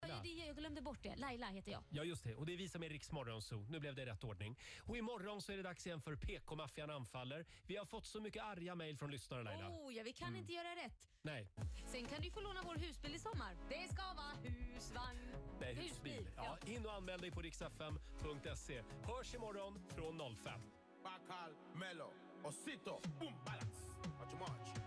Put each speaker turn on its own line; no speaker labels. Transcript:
det, det, jag glömde bort det. Laila heter jag.
Ja, just det. Och det är vi som är Riks Morgonzoo. Nu blev det rätt ordning. Och imorgon så är det dags igen för PK-maffian anfaller. Vi har fått så mycket arga mejl från lyssnare, Laila.
Oh, ja, vi kan inte göra rätt.
Nej.
Sen kan du få låna vår husbil i sommar. Det ska vara husvagn.
Nej, husbil. Ja, in och anmäl dig på riksfm.se. e. Hörs imorgon från 05.
Bacal, Melo, Osito, Boom Balance. Much, much.